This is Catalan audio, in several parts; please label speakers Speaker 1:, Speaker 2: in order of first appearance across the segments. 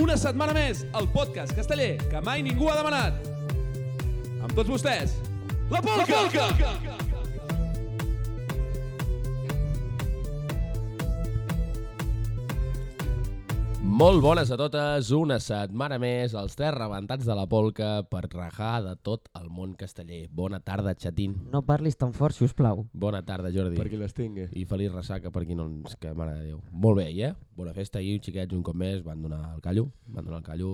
Speaker 1: Una setmana més, el podcast casteller que mai ningú ha demanat. Amb tots vostès, la Polca! La Polca!
Speaker 2: Molt bones a totes, una setmana més, els tres rebentats de la polca per rajar de tot el món casteller. Bona tarda, xatín.
Speaker 3: No parlis tan fort, si us plau.
Speaker 2: Bona tarda, Jordi.
Speaker 4: Perquè les eh? tingui.
Speaker 2: I feliç ressaca per qui no ens... Que mare de Déu. Molt bé, i, eh? Bona festa ahir, xiquets, un cop més, van donar el callo, van donar el callo.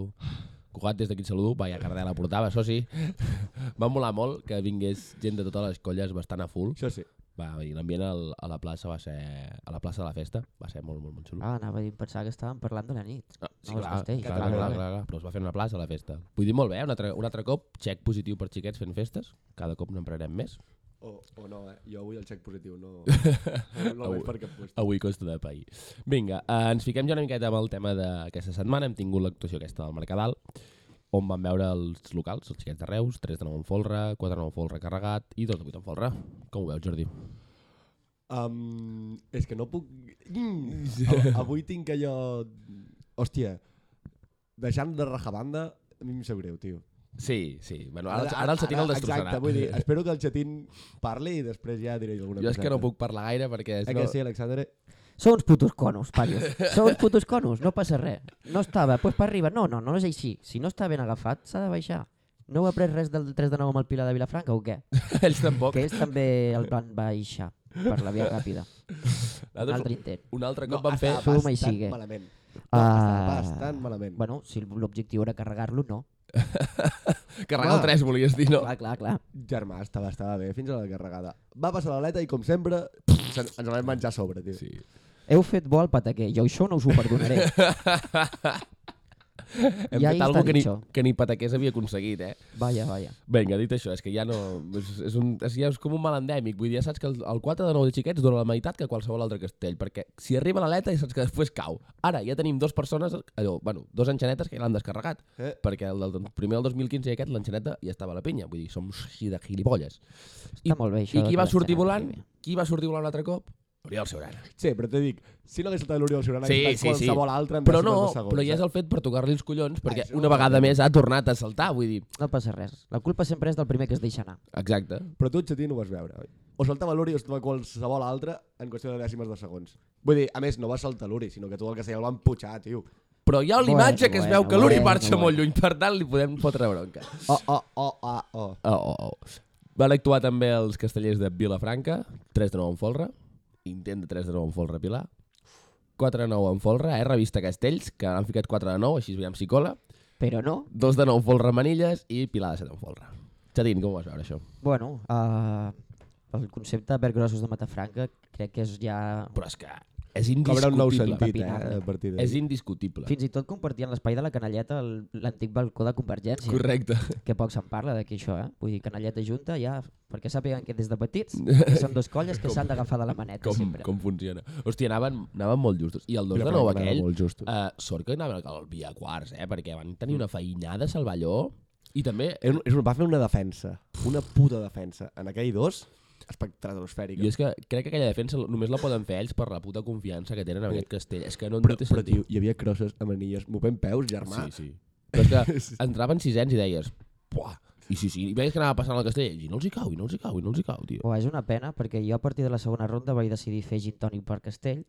Speaker 2: Cugat, des d'aquí et saludo, vaja, Cardela la portava, això sí. Va molar molt que vingués gent de totes les colles bastant a full.
Speaker 4: Això sí.
Speaker 2: Va, i l'ambient al- a la plaça va ser... A la plaça de la festa va ser molt, molt, molt xulo.
Speaker 3: Ah, anava a dir, pensava que estàvem parlant de la nit.
Speaker 2: Ah, sí, clar,
Speaker 3: No, els
Speaker 2: clar,
Speaker 3: castells,
Speaker 2: clar, clar,
Speaker 3: clar,
Speaker 2: clar,
Speaker 3: clar.
Speaker 2: clar, però es va fer una plaça la festa. Vull dir molt bé, un altre, un altre cop, xec positiu per xiquets fent festes, cada cop n'emprarem més.
Speaker 4: O, o no, eh? Jo avui el xec positiu no... no el veig per cap lloc.
Speaker 2: Avui costa de pair. Vinga, eh, ens fiquem ja una miqueta amb el tema d'aquesta setmana, hem tingut l'actuació aquesta del Mercadal, on van veure els locals, els xiquets de Reus, 3 de 9 en folre, 4 de 9 en folre carregat i 2 de 8 en folre. Com ho veus, Jordi?
Speaker 4: Um, és que no puc... Mm, av- avui tinc allò... Hòstia, deixant de rajar banda, a mi em sap greu, tio.
Speaker 2: Sí, sí. Bueno, ara, ara, el Satín el destrossarà.
Speaker 4: Exacte, vull dir, espero que el xatín parli i després ja diré alguna
Speaker 2: jo és que no
Speaker 4: coseta.
Speaker 2: puc parlar gaire perquè...
Speaker 4: Eh que sí, Alexandre?
Speaker 3: Sou uns putos conos, paios. Sou uns putos conos, no passa res. No estava, doncs per arriba. No, no, no és així. Si no està ben agafat, s'ha de baixar. No heu après res del 3 de 9 amb el Pilar de Vilafranca o què?
Speaker 2: Ells tampoc.
Speaker 3: Que ells també el van baixar per la via ràpida. Un
Speaker 2: Nosaltres
Speaker 3: altre intent.
Speaker 2: Un altre cop van fer...
Speaker 4: estava
Speaker 3: Suma i
Speaker 4: bastant
Speaker 3: sigue.
Speaker 4: malament. No, estava
Speaker 3: Ah.
Speaker 4: bastant malament.
Speaker 3: Bueno, si l'objectiu era carregar-lo, no.
Speaker 2: Carregar el 3, volies dir, no?
Speaker 3: Clar, clar, clar.
Speaker 4: Germà, estava, estava bé fins a la carregada. Va passar l'aleta i, com sempre, se- ens en vam menjar a sobre, tio.
Speaker 2: Sí.
Speaker 3: Heu fet bo al pataquer. Jo això no us ho perdonaré.
Speaker 2: Hem
Speaker 3: I
Speaker 2: ja
Speaker 3: ahí
Speaker 2: fet
Speaker 3: està
Speaker 2: algo que ni,
Speaker 3: dicho.
Speaker 2: que ni Pataqués havia aconseguit, eh?
Speaker 3: Vaya, vaya.
Speaker 2: Vinga, dit això, és que ja no... És, és, un, és, ja és com un mal endèmic. Vull dir, ja saps que el, el 4 de 9 de xiquets dona la meitat que qualsevol altre castell, perquè si arriba l'aleta ja saps que després cau. Ara ja tenim dues persones, allò, bueno, dos enxanetes que ja l'han descarregat,
Speaker 4: Eh?
Speaker 2: perquè el del primer del 2015 i aquest, l'enxaneta ja estava a la pinya. Vull dir, som així de gilipolles.
Speaker 3: Està molt bé, això.
Speaker 2: I
Speaker 3: de
Speaker 2: qui va
Speaker 3: que
Speaker 2: sortir
Speaker 3: l'escena
Speaker 2: volant?
Speaker 3: arribi.
Speaker 2: Qui va sortir volant un altre cop? Oriol Seurana.
Speaker 4: Sí, però t'he dic, si no hagués saltat l'Oriol Ciurana,
Speaker 2: Sí,
Speaker 4: sí,
Speaker 2: sí, sí.
Speaker 4: sí, qualsevol altre en
Speaker 2: Però
Speaker 4: dos
Speaker 2: no,
Speaker 4: segons, dos segons,
Speaker 2: però ja és
Speaker 4: eh?
Speaker 2: el fet per tocar-li els collons, perquè
Speaker 4: Això-
Speaker 2: una vegada més ha tornat a saltar, vull dir...
Speaker 3: No passa res. La culpa sempre és del primer que es deixa anar.
Speaker 2: Exacte.
Speaker 4: Però tu, Xatín, ho vas veure, oi? O saltava l'Uri o saltava qualsevol altre en qüestió de dècimes de segons. Vull dir, a més, no va saltar l'Uri, sinó que tot el que seia el van pujar, tio.
Speaker 2: Però hi ha
Speaker 3: Bueno,
Speaker 2: l'imatge que es veu
Speaker 3: bueno,
Speaker 2: que l'Uri
Speaker 3: bueno,
Speaker 2: marxa
Speaker 3: bueno.
Speaker 2: molt lluny, per tant li podem fotre bronca.
Speaker 4: Oh, oh, oh, oh, oh.
Speaker 2: Oh, oh, oh. Van actuar també els castellers de Vilafranca, 3 de 9 en folre, intent de 3 de 9 en folre Pilar, 4 de 9 en folre, eh, revista Castells, que han ficat 4 de 9, així veiem si cola,
Speaker 3: Però no.
Speaker 2: 2 de 9 en folre Manilles i Pilar de 7 en folre. Xatín, com ho vas veure això?
Speaker 3: Bueno, uh, el concepte de vergrossos de Matafranca crec que és ja...
Speaker 2: Però és que és
Speaker 4: Cobra un nou
Speaker 2: indiscutible.
Speaker 4: sentit, eh, a partir
Speaker 2: És
Speaker 4: d'ahir.
Speaker 2: indiscutible.
Speaker 3: Fins i tot compartien l'espai de la canalleta el- l'antic balcó de Convergència.
Speaker 2: Correcte.
Speaker 3: Que poc se'n parla d'aquí això, eh? Vull dir, canalleta junta ja... Perquè sàpiguen que des de petits que són dos colles que s'han d'agafar de la maneta
Speaker 2: com,
Speaker 3: sempre.
Speaker 2: com funciona. Hòstia, anaven, anaven molt justos. I el 2
Speaker 4: Mira,
Speaker 2: de
Speaker 4: però
Speaker 2: 9
Speaker 4: anava
Speaker 2: aquell,
Speaker 4: molt justos.
Speaker 2: eh, sort que anaven al via quarts, eh, perquè van tenir una feinada a Salvalló i també...
Speaker 4: És un- és un- Va fer una defensa, una puta defensa. En aquell dos, espectratosfèrica.
Speaker 2: Jo és que crec que aquella defensa només la poden fer ells per la puta confiança que tenen en
Speaker 4: Sí.
Speaker 2: aquest castell. És que no,
Speaker 4: Però,
Speaker 2: no té
Speaker 4: però, tio,
Speaker 2: sentit.
Speaker 4: hi havia crosses amb anilles, movent peus, germà.
Speaker 2: sí, sí. Però és que entraven sisens i deies... Buah, i sí, sí, i veies que anava passant al castell i no els hi cau, i no els hi cau, i no els hi cau,
Speaker 4: Oh,
Speaker 2: tio.
Speaker 3: O és una pena, perquè jo a partir de la segona ronda vaig decidir fer gin tònic per Castell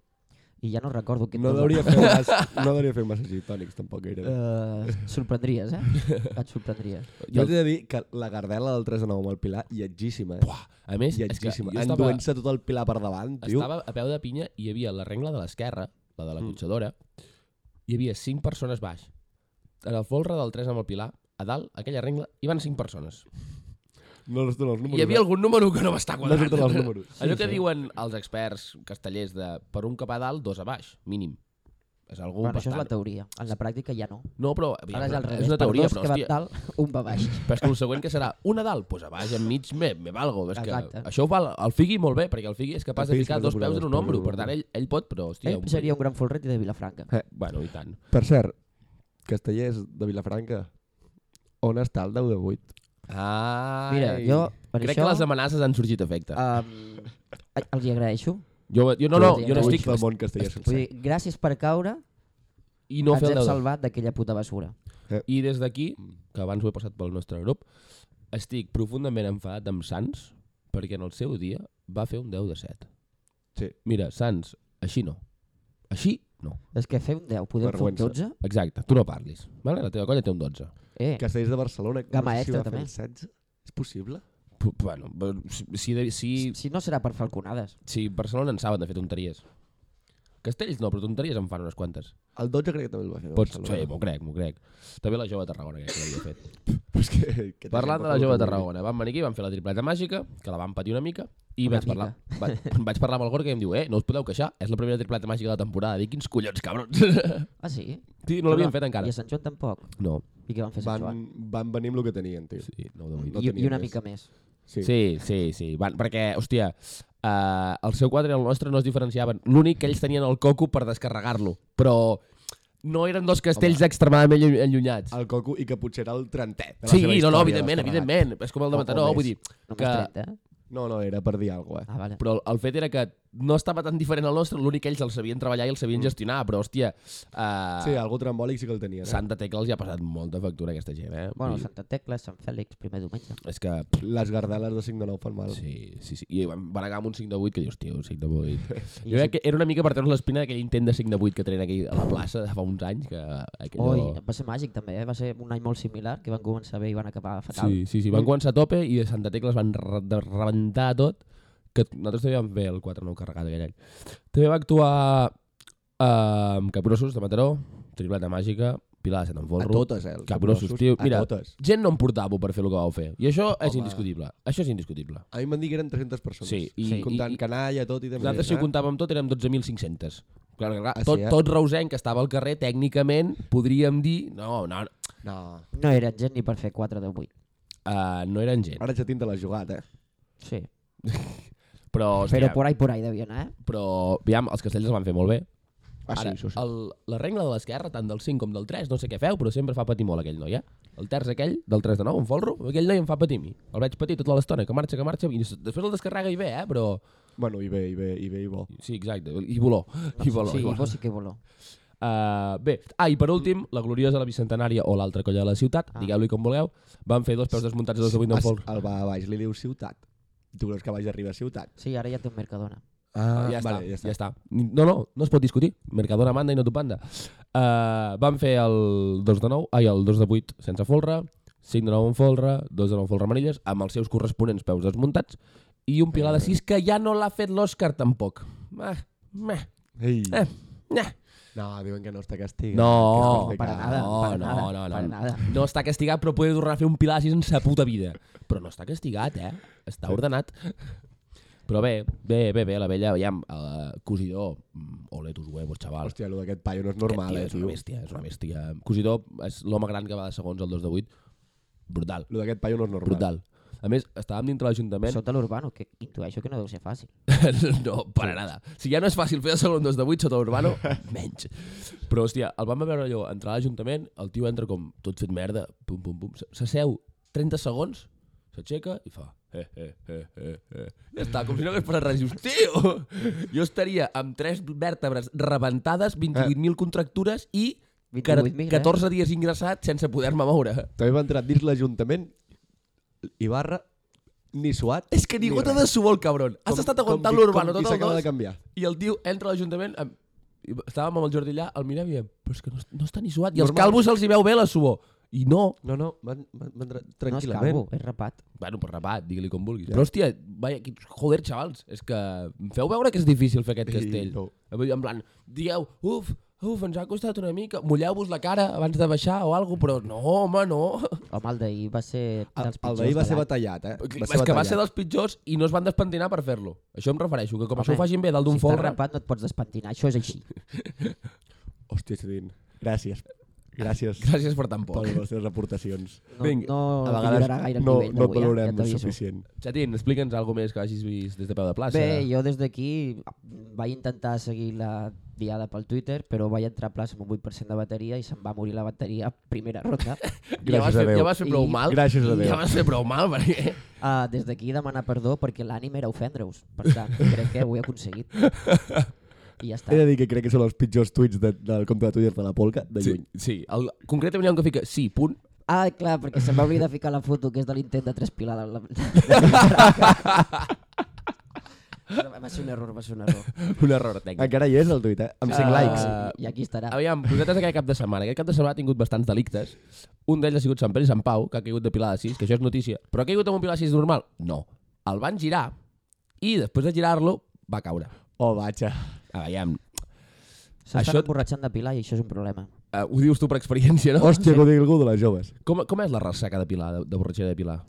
Speaker 3: i ja no recordo què
Speaker 4: No
Speaker 3: tornava.
Speaker 4: deuria fer mas, no deuria fer massa gitònics, tampoc gairebé.
Speaker 3: Eh, et sorprendries, eh? Et sorprendries.
Speaker 2: I
Speaker 4: Jo
Speaker 2: el,
Speaker 4: t'he de dir que la gardela del 3 de 9 amb el Pilar, lletgíssima, eh?
Speaker 2: buah, a més, és que jo
Speaker 4: Lletgíssima.
Speaker 2: estava,
Speaker 4: Enduent-se tot el Pilar per davant, tio.
Speaker 2: Estava a peu de pinya i hi havia la regla de l'esquerra, la de la cotxadora, hi havia cinc persones baix. En el folre del 3 amb el Pilar, a dalt, aquella regla, hi van cinc persones.
Speaker 4: No els dono els números.
Speaker 2: Hi havia
Speaker 4: eh?
Speaker 2: algun número que no va estar quadrat. eh?
Speaker 4: surten els números. Sí,
Speaker 2: Allò que
Speaker 4: sí.
Speaker 2: diuen els experts castellers de per un cap a dalt, dos a baix, mínim. És algú
Speaker 3: Bueno, això és
Speaker 2: bastant...
Speaker 3: la teoria. En la pràctica ja no.
Speaker 2: No, però...
Speaker 3: Ara és al revés.
Speaker 2: és una teoria,
Speaker 3: per dos
Speaker 2: però,
Speaker 3: que van
Speaker 2: hòstia,
Speaker 3: dalt, un va baix.
Speaker 2: Però és que el següent que serà un a dalt, doncs a baix, enmig, me, me valgo. És que
Speaker 3: Exacte.
Speaker 2: això ho fa el- el Figui molt bé, perquè el Figui és capaç de
Speaker 4: El Figui és
Speaker 2: ficar
Speaker 4: capaç de
Speaker 2: dos
Speaker 4: posar
Speaker 2: peus
Speaker 4: dos
Speaker 2: en un
Speaker 4: peus en
Speaker 2: ombro.
Speaker 4: un
Speaker 2: Per
Speaker 4: ombro.
Speaker 2: tant, ell, ell pot, però, hòstia...
Speaker 3: Ell Eh, seria un gran folreti de Vilafranca.
Speaker 2: Bueno, i tant.
Speaker 4: Per cert, castellers de Vilafranca, on està el 10 de 8?
Speaker 2: Ai.
Speaker 3: Mira, jo per
Speaker 2: Crec
Speaker 3: això
Speaker 2: que les amenaces han sorgit efecte. Uh,
Speaker 3: um, els hi agraeixo.
Speaker 2: jo, jo, no, no,
Speaker 3: tu
Speaker 2: jo no
Speaker 3: dius-
Speaker 2: estic...
Speaker 4: Del món casteller
Speaker 3: Vull
Speaker 4: sencer.
Speaker 3: dir, gràcies per caure
Speaker 2: i no
Speaker 3: ens
Speaker 2: fer el
Speaker 3: hem
Speaker 2: deure.
Speaker 3: salvat d'aquella puta basura.
Speaker 2: I des d'aquí, que abans ho he passat pel nostre grup, estic profundament enfadat amb Sants perquè en el seu dia va fer un 10 de 7.
Speaker 4: Sí.
Speaker 2: Mira, Sants, així no. Així no.
Speaker 3: És que fer un 10, podem fer un
Speaker 4: Vergüenza.
Speaker 3: 12?
Speaker 2: Exacte, tu no parlis. Vale? La teva colla té un 12.
Speaker 3: Eh,
Speaker 4: Castells de Barcelona, que
Speaker 3: Gamma
Speaker 4: no sé si
Speaker 3: extra,
Speaker 4: va fer
Speaker 3: també.
Speaker 4: el 16. És possible?
Speaker 2: P bueno, b- si, de- si,
Speaker 3: si no serà per falconades.
Speaker 2: si Barcelona en saben de fer tonteries. Castells no, però tonteries en fan unes quantes.
Speaker 4: El 12 crec que també el va fer. de
Speaker 2: Pots,
Speaker 4: Barcelona.
Speaker 2: sí, m'ho crec, m'ho crec. També la jove de Tarragona crec que l'havia fet.
Speaker 4: Però és que, que
Speaker 2: Parlant de
Speaker 4: tenen
Speaker 2: la jove de
Speaker 4: molt que vulguin.
Speaker 2: Tarragona, vam venir aquí, vam fer la tripleta màgica, que la vam patir una mica, i
Speaker 3: Una
Speaker 2: vaig parlar, va, vaig parlar amb el Gorka i em diu, eh, no us podeu queixar, és la primera tripleta màgica de la temporada, dic, quins collons, cabrons. sí,
Speaker 3: Ah, sí?
Speaker 2: no l'havien fet encara.
Speaker 3: I a Sant Joan tampoc.
Speaker 2: No,
Speaker 3: I què van fer a Sant
Speaker 4: Van,
Speaker 3: Joan?
Speaker 4: van venir amb el que tenien, tio.
Speaker 2: sí, no ho deu dir.
Speaker 4: no
Speaker 3: I, I
Speaker 4: tenien
Speaker 3: una
Speaker 4: més.
Speaker 3: mica més.
Speaker 4: Sí.
Speaker 2: Sí, sí, sí, van, perquè, hòstia, eh, el seu quadre i el nostre no es diferenciaven. L'únic que ells tenien el coco per descarregar-lo, però no eren dos castells Home. extremadament llu- allunyats.
Speaker 4: El coco i que potser era el 30è. de la
Speaker 2: Sí,
Speaker 4: seva
Speaker 2: no, no,
Speaker 4: història
Speaker 2: evidentment,
Speaker 4: descarregat.
Speaker 2: evidentment. És com el de
Speaker 4: O- o
Speaker 2: Mataró,
Speaker 4: més.
Speaker 2: vull dir...
Speaker 3: Només
Speaker 2: Que,
Speaker 3: 30, eh?
Speaker 4: No, no, era per dir alguna cosa, eh?
Speaker 3: Ah, vale.
Speaker 2: Però el fet era que no estava tan diferent al nostre, l'únic que ells el sabien treballar i el
Speaker 3: Mm.
Speaker 2: sabien gestionar, però, hòstia, eh,
Speaker 4: Sí, algo trambòlic sí que el tenia. Eh?
Speaker 2: Santa Tecla els hi ha passat molta factura, aquesta gent, eh?
Speaker 3: Bueno,
Speaker 2: Vull dir,
Speaker 3: Santa Tecla, Sant Fèlix, primer diumenge.
Speaker 2: És que...
Speaker 4: Les gardeles de 5 de 9 fan mal. Sí.
Speaker 2: Sí, sí, sí. I van van acabar amb un 5 de 8 que dius, tio, un 5 de 8.
Speaker 3: I
Speaker 2: jo crec que era una mica per treure l'espina d'aquell intent de 5 de 8 que tenien aquí a la plaça de fa uns anys, que aquello...
Speaker 3: Oi, va ser màgic també, eh? va ser un any molt similar, que van començar bé i van acabar fatal.
Speaker 2: Sí, sí, sí,
Speaker 4: Mm.
Speaker 2: van començar a tope i de Santa Tecla es van re de rebentar tot, que nosaltres també vam fer el 4-9 carregat aquell any. També va actuar eh, amb Capgrossos de Mataró, Tripleta Màgica, Pilar de Sant
Speaker 4: A
Speaker 2: Enfolro,
Speaker 4: totes, eh? els
Speaker 2: Capgrossos,
Speaker 4: capgrossos.
Speaker 2: tio.
Speaker 4: A
Speaker 2: Mira,
Speaker 4: totes.
Speaker 2: gent no em portava per fer el que vau fer. I això és
Speaker 4: Home.
Speaker 2: indiscutible. Això és indiscutible.
Speaker 4: A mi m'han dit que eren 300 persones.
Speaker 2: Sí, i- i-
Speaker 4: comptant
Speaker 2: i-
Speaker 4: canalla, tot i també.
Speaker 2: Nosaltres, si ho comptàvem tot, érem 12.500. Clar, clar, clar,
Speaker 4: eh? Ah, sí,
Speaker 2: tot,
Speaker 4: eh?
Speaker 2: tot reusenc que estava al carrer, tècnicament, podríem dir... No, no, no,
Speaker 4: No.
Speaker 3: No era gent ni per fer 4 de 8.
Speaker 2: uh, no eren gent.
Speaker 4: Ara ja tinc de l'has jugat, eh?
Speaker 3: Sí,
Speaker 2: Però,
Speaker 3: però
Speaker 2: hòstia, però,
Speaker 3: por ahí, por ahí devia anar, eh?
Speaker 2: però aviam, els castells es van fer molt bé.
Speaker 4: Ah,
Speaker 2: Ara,
Speaker 4: sí, això sí.
Speaker 2: El, la regla de l'esquerra, tant del 5 com del 3, no sé què feu, però sempre fa patir molt aquell noi, eh? El terç aquell, del 3 de 9, en folro, aquell noi em fa patir a mi. El veig patir tota l'estona, que marxa, que marxa, i després el descarrega i bé, eh? Però...
Speaker 4: Bueno, i bé, i bé, i bé, i bo.
Speaker 2: Sí, exacte, i voló. I voló,
Speaker 3: sí,
Speaker 2: i voló.
Speaker 3: vos sí que voló.
Speaker 2: Uh, bé, ah, i per últim, la gloriosa la Bicentenària o l'altra colla de la ciutat,
Speaker 3: Ah.
Speaker 2: digueu-li com vulgueu, van fer dos peus desmuntats i dos de vuit
Speaker 4: Ah,
Speaker 2: d'en
Speaker 4: sí,
Speaker 2: folro.
Speaker 4: El va a baix, li diu ciutat. Tu creus que a baix arriba a ciutat?
Speaker 3: Sí, ara ja té un Mercadona.
Speaker 2: Ah, ja,
Speaker 4: vale,
Speaker 2: està, ja, està. No, no, no es pot discutir. Mercadona manda i no tu panda. Uh, van fer el 2 de 9, ai, el 2 de 8 sense folre, 5 de 9 amb folre, 2 de 9 folre amarilles, amb els seus corresponents peus desmuntats, i un pilar de 6 que ja no l'ha fet l'Òscar tampoc. Meh, meh,
Speaker 4: Ei.
Speaker 2: eh, eh.
Speaker 4: No, diuen que no està castigat.
Speaker 2: No,
Speaker 4: que és
Speaker 3: per
Speaker 4: complicat.
Speaker 3: nada,
Speaker 2: no,
Speaker 3: per nada,
Speaker 2: no, no, no.
Speaker 3: per nada.
Speaker 2: No està castigat, però poder tornar a fer un pilar així en sa puta vida. Però no està castigat, eh? Està ordenat. Però bé, bé, bé, bé, la vella, aviam, uh, cosidor, mm, ole tus huevos, xaval.
Speaker 4: Hòstia, lo d'aquest paio no és
Speaker 2: Aquest
Speaker 4: normal,
Speaker 2: tio
Speaker 4: eh,
Speaker 2: és una
Speaker 4: tio.
Speaker 2: bèstia, és una bèstia. Cosidor és l'home gran que va de segons el 2 de 8. Brutal,
Speaker 4: Lo d'aquest paio no és normal.
Speaker 2: brutal. A més, estàvem dintre l'Ajuntament...
Speaker 3: Sota l'Urbano, que intueixo que no deu ser fàcil.
Speaker 2: no, per a nada. Si ja no és fàcil fer el segon 2 de 8 sota Urbano, menys. Però, hòstia, el vam veure allò, entrar a l'Ajuntament, el tio entra com tot fet merda, pum, pum, pum, s- s'asseu 30 segons, s'aixeca i fa... Eh, eh, eh, eh, eh. Ja està, com si no hagués passat res. Dius, tio, jo estaria amb tres vèrtebres
Speaker 4: Eh.
Speaker 2: rebentades, 28.000 contractures i
Speaker 3: 28.000, eh?
Speaker 2: 14 dies ingressat sense poder-me moure.
Speaker 4: També va entrar dins l'Ajuntament i barra ni suat.
Speaker 2: És que ningú
Speaker 4: ni
Speaker 2: t'ha
Speaker 4: res.
Speaker 2: de suar el cabron. Has
Speaker 4: Com-
Speaker 2: estat
Speaker 4: com
Speaker 2: aguantant
Speaker 4: qui-
Speaker 2: l'Urbano
Speaker 4: com qui
Speaker 2: tot el
Speaker 4: s'acaba
Speaker 2: dos.
Speaker 4: de canviar.
Speaker 2: I el tio entra a l'Ajuntament... Amb... i Estàvem amb el Jordi allà, el mirem i diem, però és que no, no està ni suat. I els
Speaker 4: Normal.
Speaker 2: calvos els hi veu bé la suor. I no.
Speaker 4: No, no, van, van, van tra-
Speaker 3: No és
Speaker 4: tranquil·lament.
Speaker 3: calvo, és rapat.
Speaker 2: Bueno, per rapat, digue-li com vulguis. Però hòstia, vaya, qui- joder, xavals, és que em feu veure que és difícil fer aquest
Speaker 4: Ei,
Speaker 2: castell.
Speaker 4: no.
Speaker 2: En plan, dieu, uf, uf, ens ha costat una mica, mulleu-vos la cara abans de baixar o alguna però no, home, no.
Speaker 3: Home, el d'ahir va ser
Speaker 4: El,
Speaker 3: dels
Speaker 4: el
Speaker 3: pitjors
Speaker 4: d'ahir va
Speaker 3: de
Speaker 4: ser
Speaker 3: l'any.
Speaker 4: batallat, eh?
Speaker 2: Va és que va ser dels pitjors i no es van despentinar per fer-lo. Això em refereixo, que com això ho facin bé dalt d'un
Speaker 3: si
Speaker 2: folre...
Speaker 3: estàs rapat no et pots despentinar, això és així.
Speaker 4: Hòstia, Xedin, gràcies. Gràcies
Speaker 2: Gràcies per tan
Speaker 4: per
Speaker 2: poc.
Speaker 4: les teves aportacions.
Speaker 3: No, no millorarà gaire el
Speaker 4: no,
Speaker 3: nivell
Speaker 4: no et
Speaker 3: d'avui, eh? Ja
Speaker 4: valorem el
Speaker 3: t'aviso.
Speaker 4: suficient.
Speaker 2: Xatín, explica'ns alguna més que hagis vist des de peu de plaça.
Speaker 3: Bé, jo des d'aquí vaig intentar seguir la diada pel Twitter, però vaig entrar a plaça amb un 8% de bateria i se'm va morir la bateria a primera ronda.
Speaker 2: ja
Speaker 4: Gràcies
Speaker 2: vas
Speaker 4: a
Speaker 2: fer,
Speaker 4: Déu.
Speaker 2: ja vas fer prou
Speaker 3: I-
Speaker 2: mal.
Speaker 4: Gràcies a Déu.
Speaker 2: Ja vas fer prou mal, perquè...
Speaker 3: Uh, des d'aquí demanar perdó perquè l'ànim era ofendre-us. Per tant, crec que ho he aconseguit. I ja està.
Speaker 4: He de dir que crec que són els pitjors tuits de, del compte de Twitter de la Polca, de
Speaker 2: Sí,
Speaker 4: lluny.
Speaker 2: sí. El, concretament hi ha un que fica sí, punt.
Speaker 3: Ah, clar, perquè se'm va oblidar ficar la foto que és de l'intent de trespilar la... la... la- va ser un error, va ser un error.
Speaker 2: Un error tècnic.
Speaker 4: Encara hi és el tuit, eh? Amb 5
Speaker 2: Ah.
Speaker 4: likes.
Speaker 3: I aquí estarà.
Speaker 2: Aviam, vosaltres aquest cap de setmana. Aquest cap de setmana ha tingut bastants delictes. Un d'ells ha sigut Sant Pere i Sant Pau, que ha caigut de pilar de 6, que això és notícia. Però ha caigut amb un pilar de 6 normal? No. El van girar i després de girar-lo va caure.
Speaker 4: Oh, vaja.
Speaker 2: Aviam,
Speaker 3: S'estan
Speaker 2: això-
Speaker 3: això... emborratxant de pilar i això és un problema.
Speaker 2: eh, ho dius tu per experiència, no?
Speaker 4: Hòstia, que ho digui algú de les joves.
Speaker 2: Com, com és la ressaca de pilar, de, de borratxera de pilar?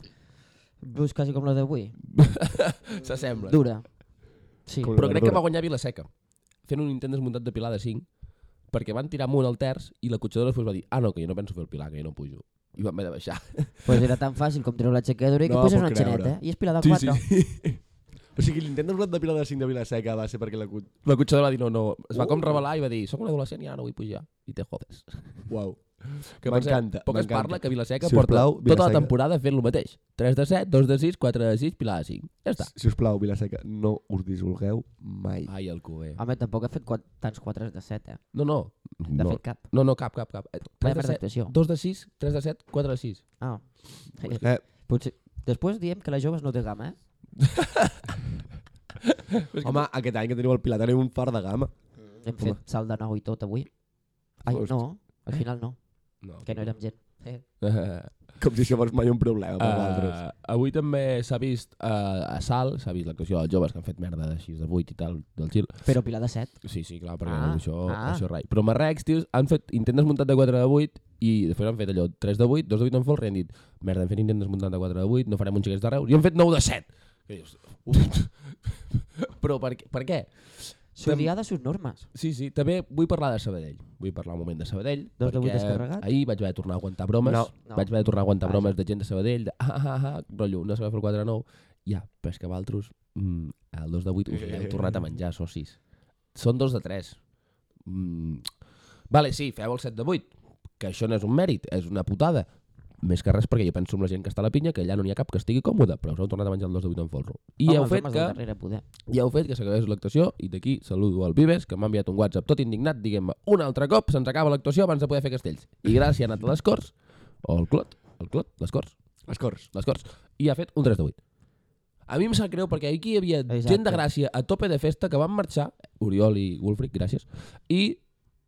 Speaker 3: Veus quasi com la d'avui?
Speaker 2: S'assembla.
Speaker 3: Dura. Sí.
Speaker 4: Com-
Speaker 2: Però crec que
Speaker 4: Dura.
Speaker 2: va guanyar Vilaseca, fent un intent desmuntat de Pilar de 5, perquè van tirar amunt al terç i la cotxadora després va dir ah, no, que jo no penso fer el Pilar, que jo no pujo. I van haver de baixar.
Speaker 3: Pues era tan fàcil com treure la xequedura i que
Speaker 4: No
Speaker 3: no, poses
Speaker 4: puc
Speaker 3: una xaneta.
Speaker 4: creure.
Speaker 3: I és pilar de 4.
Speaker 4: O sigui, l'intent desblat de Pilar de 5 de Vilaseca va ser perquè la... cut-
Speaker 2: La cotxadora va dir no, no. Es va com revelar i va dir soc un adolescent i ara no vull pujar. I te jodes.
Speaker 4: Uau.
Speaker 2: Que
Speaker 4: M'encanta,
Speaker 2: penseu, Poc es
Speaker 4: m'encanta.
Speaker 2: parla que Vilaseca
Speaker 4: Si us
Speaker 2: porta
Speaker 4: plau,
Speaker 2: tota
Speaker 4: Vilaseca.
Speaker 2: la temporada fent el mateix. 3 de 7, 2 de 6, 4 de 6, Pilar de 5. Ja està.
Speaker 4: Si us plau, Vilaseca, no us dissolgueu mai.
Speaker 2: Ai, el cuber.
Speaker 3: Home, tampoc ha fet quat, tants 4 de 7, eh?
Speaker 2: No, no.
Speaker 3: De
Speaker 2: No,
Speaker 3: fet, cap.
Speaker 2: no, no cap, cap, cap. 3
Speaker 3: Vaya
Speaker 2: de
Speaker 3: merda
Speaker 2: 7,
Speaker 3: d'actuació.
Speaker 2: 2 de 6, 3 de 7, 4 de 6.
Speaker 3: Ah. Eh,
Speaker 4: Eh,
Speaker 3: Potser... Després diem que les joves no té gama, eh?
Speaker 4: home, aquest any que teniu el Pilar teniu un far de gamma.
Speaker 3: Hem fet salt de nou i tot avui. Ai,
Speaker 4: Hosti.
Speaker 3: no. Al
Speaker 2: Eh?
Speaker 3: final no,
Speaker 2: No.
Speaker 3: que no érem gent. Eh?
Speaker 4: Com si això fos mai un problema per vosaltres.
Speaker 2: Uh, avui també s'ha vist uh, a Sal, s'ha vist l'actuació dels joves que han fet merda d'així de 8 i tal del Gil.
Speaker 3: Però pilar de 7.
Speaker 2: Sí, sí, clar, perquè
Speaker 3: Ah,
Speaker 2: ah, això, ah.
Speaker 3: ah.
Speaker 2: això rai. Però Marrex, tios, han fet intent desmuntat de 4 de 8 i després han fet allò 3 de 8, 2 de 8 en fol, i han dit merda, hem fet intent desmuntat de 4 de 8, no farem un xiquets de Reus, i han fet 9 de 7. I dius, "Uf." però per, què- per què?
Speaker 3: S'odiar de sus normes.
Speaker 2: Sí, sí, també vull parlar de Sabadell. Vull parlar un moment de Sabadell.
Speaker 3: Dos de vuit
Speaker 2: perquè
Speaker 3: descarregat?
Speaker 2: Ahir vaig haver de tornar a aguantar bromes.
Speaker 3: No, no.
Speaker 2: Vaig haver de tornar a aguantar
Speaker 3: Vaja.
Speaker 2: bromes de gent de Sabadell, de ah, ah, ah, rotllo, no sabeu fer el 4 a 9. Ja, però és que Valtros, mm, el 2 de 8 us l'heu tornat a menjar, socis. Són 2 de 3. Mm. Vale, sí, feu el 7 de 8, que això no és un mèrit, és una putada. Més que res perquè jo penso en la gent que està a la pinya que allà no n'hi ha cap que estigui còmode, però us heu tornat a menjar el 2 de 8 en folro. I
Speaker 3: Home,
Speaker 2: heu
Speaker 3: els
Speaker 2: fet
Speaker 3: homes
Speaker 2: que
Speaker 3: del darrere poder.
Speaker 2: ja heu fet que s'acabés l'actuació i d'aquí saludo al Vives, que m'ha enviat un WhatsApp tot indignat, diguem-me, un altre cop se'ns acaba l'actuació abans de poder fer castells. I gràcies ha anat a les Corts, o el Clot, el Clot, les Corts,
Speaker 4: Els cors.
Speaker 2: les Corts, i ha fet un 3 de 8. A mi em sap greu perquè aquí hi havia Exacte. gent
Speaker 3: Exacte.
Speaker 2: de Gràcia a tope de festa que van marxar, Oriol i Wolfric, gràcies, i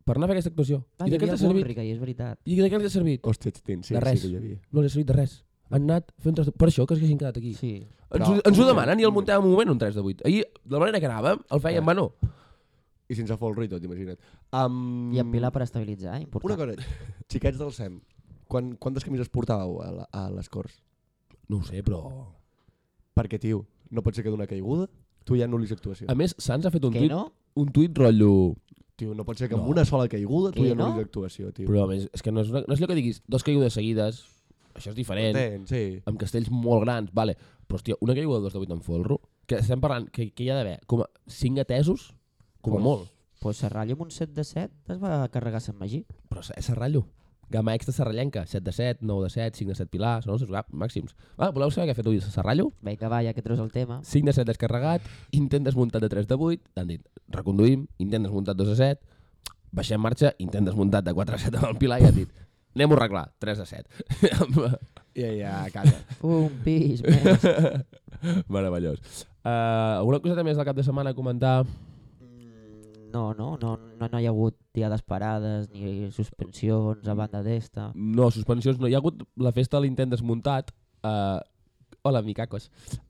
Speaker 2: per anar a fer aquesta actuació.
Speaker 3: Ah,
Speaker 2: I
Speaker 3: hi
Speaker 2: de què
Speaker 3: havia
Speaker 2: els ha
Speaker 3: algun
Speaker 2: servit?
Speaker 3: rica, i és veritat.
Speaker 2: I de què els ha servit?
Speaker 4: Hòstia, tins, sí,
Speaker 2: De res.
Speaker 4: sí que hi havia.
Speaker 2: No els ha servit de res. Han anat fent un 3 de... Per això que es haguessin quedat aquí.
Speaker 3: Sí.
Speaker 2: Ens,
Speaker 4: Però-
Speaker 2: ho, ens ho demanen i el muntem un moment un 3 de 8. Ahir, de la manera que anàvem, el
Speaker 3: Eh.
Speaker 2: feien, bueno,
Speaker 4: I sense folro i tot, imagina't. Um,
Speaker 2: Mm.
Speaker 3: I en pilar per estabilitzar, eh? important.
Speaker 4: Una cosa, xiquets del SEM, quan, quantes camises portàveu a, la, a les Corts?
Speaker 2: No ho sé, però...
Speaker 4: Perquè, tio, no pot ser que d'una caiguda tu ja anul·lis actuació.
Speaker 2: A més, Sants ha fet un
Speaker 3: Que
Speaker 2: tuit,
Speaker 3: no?
Speaker 2: un tuit rotllo...
Speaker 4: Tio, no pot ser que amb
Speaker 2: No.
Speaker 4: una sola caiguda tu
Speaker 3: Que
Speaker 4: ja
Speaker 3: no?
Speaker 4: anul·lis actuació, tio.
Speaker 2: Però a més, és que no és, una, no és allò que diguis, dos caigudes seguides, això és diferent,
Speaker 4: Entén,
Speaker 3: eh.
Speaker 4: sí.
Speaker 2: amb castells molt grans, vale. però hòstia, una caiguda de dos de vuit en folro, que estem parlant que, que hi ha d'haver com a cinc atesos, com a
Speaker 3: Pues-
Speaker 2: molt,
Speaker 3: Pues Serrallo amb un 7 de 7 es va carregar Sant Magí.
Speaker 2: però és serrallo. Gamma extra serrallenca, 7 de 7, 9 de 7, 5 de 7 pilar, són els seus gap- màxims. Va, voleu saber què ha fet avui serrallo?
Speaker 3: Vinga, va, ja que treus el tema.
Speaker 2: 5 de 7 descarregat, intent desmuntat de 3 de 8, han dit, reconduïm, intent desmuntat 2 de 7, baixem marxa, intent desmuntat de 4 de 7 amb el Pilar i han dit, anem-ho a arreglar, 3 de 7.
Speaker 4: Ja, ja, calla.
Speaker 3: Un pis més.
Speaker 2: Meravellós. Uh, alguna cosa més del cap de setmana a comentar?
Speaker 3: No, no, no, no, no hi ha hagut diades parades ni suspensions a banda d'esta.
Speaker 2: No, suspensions no. Hi ha hagut la festa de l'intent desmuntat. Uh, hola, micacos.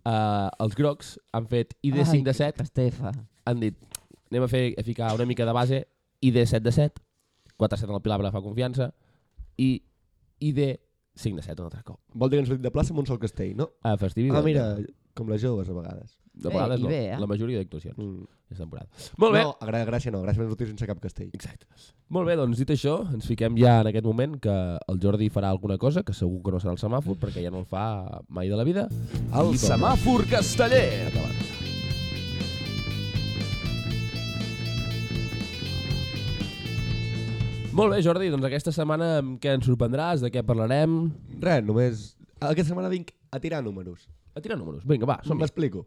Speaker 2: Uh, els grocs han fet ID 5 de 7,
Speaker 3: Estefa.
Speaker 2: han dit, anem a, fer, a ficar una mica de base, ID 7 de 7, 4 de 7 en el Pilar perquè fa confiança, i ID 5 de 7 un altre cop.
Speaker 4: Vol dir que ens sortim de plaça amb un sol castell, no?
Speaker 2: A festivi.
Speaker 4: Ah, mira, com les joves a vegades.
Speaker 2: de
Speaker 3: Bé,
Speaker 2: vegades
Speaker 3: i
Speaker 2: no,
Speaker 3: bé, eh?
Speaker 2: la majoria d'actuacions
Speaker 4: Mm.
Speaker 2: és temporada. Molt bé,
Speaker 4: No, a Gra- Gràcia no, Gràcia vam sortir sense cap castell.
Speaker 2: Exacte. Molt bé, doncs dit això, ens fiquem ja en aquest moment que el Jordi farà alguna cosa, que segur que no serà el semàfor, perquè ja no el fa mai de la vida.
Speaker 4: El
Speaker 1: semàfor casteller.
Speaker 2: Acabat. Molt bé, Jordi, doncs aquesta setmana amb què ens sorprendràs, de què parlarem...
Speaker 4: Res, només... Aquesta setmana vinc a tirar números.
Speaker 2: A tirar números, vinga, va, som
Speaker 4: M'explico.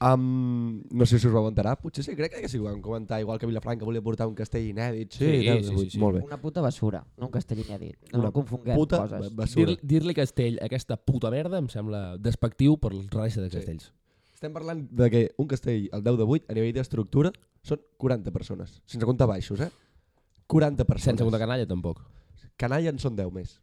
Speaker 4: Um, no sé si us vau enterar, potser sí, crec que sí que ho vam comentar, igual que Vilafranca volia portar un castell inèdit. Sí,
Speaker 2: Sí,
Speaker 4: tal,
Speaker 2: sí,
Speaker 4: vull-
Speaker 2: sí, sí.
Speaker 4: Molt bé.
Speaker 3: Una puta basura, no un castell inèdit. No,
Speaker 4: Una
Speaker 3: no confonguem
Speaker 4: Puta
Speaker 3: coses.
Speaker 4: ba- basura.
Speaker 2: Dir- Dir-li castell, aquesta puta merda, em sembla despectiu per la resta de
Speaker 4: Sí.
Speaker 2: castells.
Speaker 4: Estem parlant de que un castell, el 10 de 8, a nivell d'estructura, són 40 persones. Sense comptar baixos, eh? 40 persones.
Speaker 2: Sense una canalla, tampoc.
Speaker 4: Canalla en són 10 més.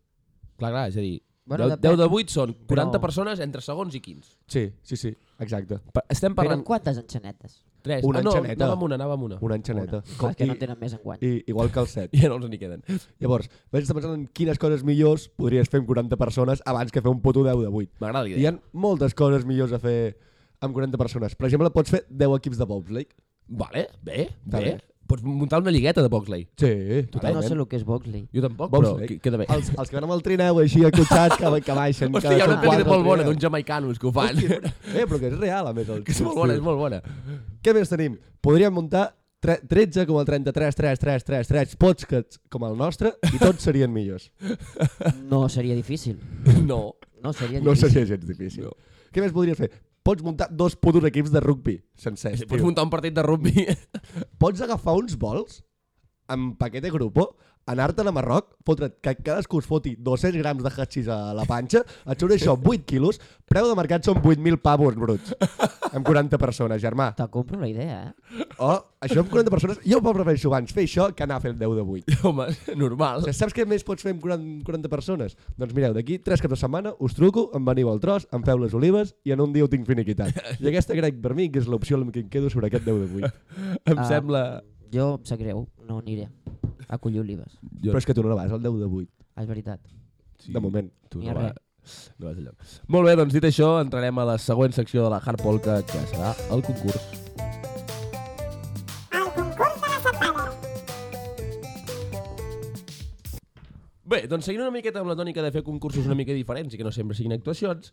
Speaker 2: Clar, clar, és a dir,
Speaker 3: Bueno,
Speaker 2: bueno, 10,
Speaker 3: depèn.
Speaker 2: 10 de 8 són 40
Speaker 3: Però-
Speaker 2: però... persones entre segons i 15.
Speaker 4: Sí, sí, sí, exacte.
Speaker 2: Per, estem
Speaker 3: Però
Speaker 2: parlant...
Speaker 3: amb quantes enxanetes?
Speaker 2: 3.
Speaker 4: Una
Speaker 2: ah, no,
Speaker 4: enxaneta.
Speaker 2: anàvem una, anàvem una.
Speaker 4: Una enxaneta.
Speaker 3: Una. Com, que no en tenen més en guany.
Speaker 4: i, igual que el 7.
Speaker 2: I ja no els n'hi queden.
Speaker 4: Llavors, vaig estar pensant en quines coses millors podries fer amb 40 persones abans que fer un puto 10 de 8.
Speaker 2: M'agrada
Speaker 4: Hi
Speaker 2: l'idea.
Speaker 4: ha moltes coses millors a fer amb 40 persones. Per exemple, pots fer 10 equips de bobsleigh.
Speaker 2: Vale, bé,
Speaker 4: Està
Speaker 2: bé.
Speaker 4: bé.
Speaker 2: Pots muntar una lligueta de Boxley.
Speaker 4: Sí,
Speaker 3: no sé el que és Boxley.
Speaker 2: Jo tampoc, però
Speaker 4: Bobsleigh.
Speaker 2: qui- queda bé.
Speaker 4: Els, els que van amb el trineu així acotxats que, que baixen.
Speaker 2: Hòstia,
Speaker 4: que
Speaker 2: hi ha una
Speaker 4: són
Speaker 2: pel·li
Speaker 4: quatre eh?
Speaker 2: de molt
Speaker 4: al
Speaker 2: bona
Speaker 4: trineu.
Speaker 2: d'uns jamaicanos que ho fan.
Speaker 4: Hòstia, Eh, però que és real, a més. El...
Speaker 2: que és molt bona, és molt bona.
Speaker 4: Què més tenim? Podríem muntar tre- 13,333333 podcasts com el nostre i tots serien millors.
Speaker 3: No seria difícil.
Speaker 2: No.
Speaker 3: No seria
Speaker 4: No
Speaker 3: difícil.
Speaker 4: seria gens difícil. No. Què més podries fer? Pots muntar dos putos equips de rugby sencers.
Speaker 2: Pots
Speaker 4: tio.
Speaker 2: muntar un partit de rugby.
Speaker 4: Pots agafar uns vols amb paquet de grupo, anar-te'n a Marroc, fotre't que cadascú es foti 200 grams de hachís a la panxa, et surt això 8 quilos, preu de mercat són 8.000 pavos bruts, amb 40 persones, germà.
Speaker 3: Te compro la idea, eh?
Speaker 4: Oh, això amb 40 persones, jo ho prefereixo abans fer això que anar a fer el 10 de 8.
Speaker 2: Home, normal.
Speaker 4: O sigui, saps què més pots fer amb 40, 40 persones? Doncs mireu, d'aquí tres caps de setmana us truco, em veniu al tros, em feu les olives i en un dia ho tinc finiquitat. I aquesta crec per mi que és l'opció amb què em quedo sobre aquest 10 de 8.
Speaker 2: Em
Speaker 3: Ah.
Speaker 2: sembla...
Speaker 3: Jo em sap greu, no aniré a collir olives.
Speaker 2: Jo-
Speaker 4: Però és que tu no vas al 10 de 8,
Speaker 3: Ah, És veritat.
Speaker 4: sí. de moment.
Speaker 2: Tu
Speaker 3: Ni a
Speaker 2: no, va,
Speaker 3: res.
Speaker 2: no vas allò. Molt bé, doncs dit això, entrarem a la següent secció de la Hard Polka, que serà el concurs. Bé, doncs seguint una miqueta amb la tònica de fer concursos una mica diferents i que no sempre siguin actuacions,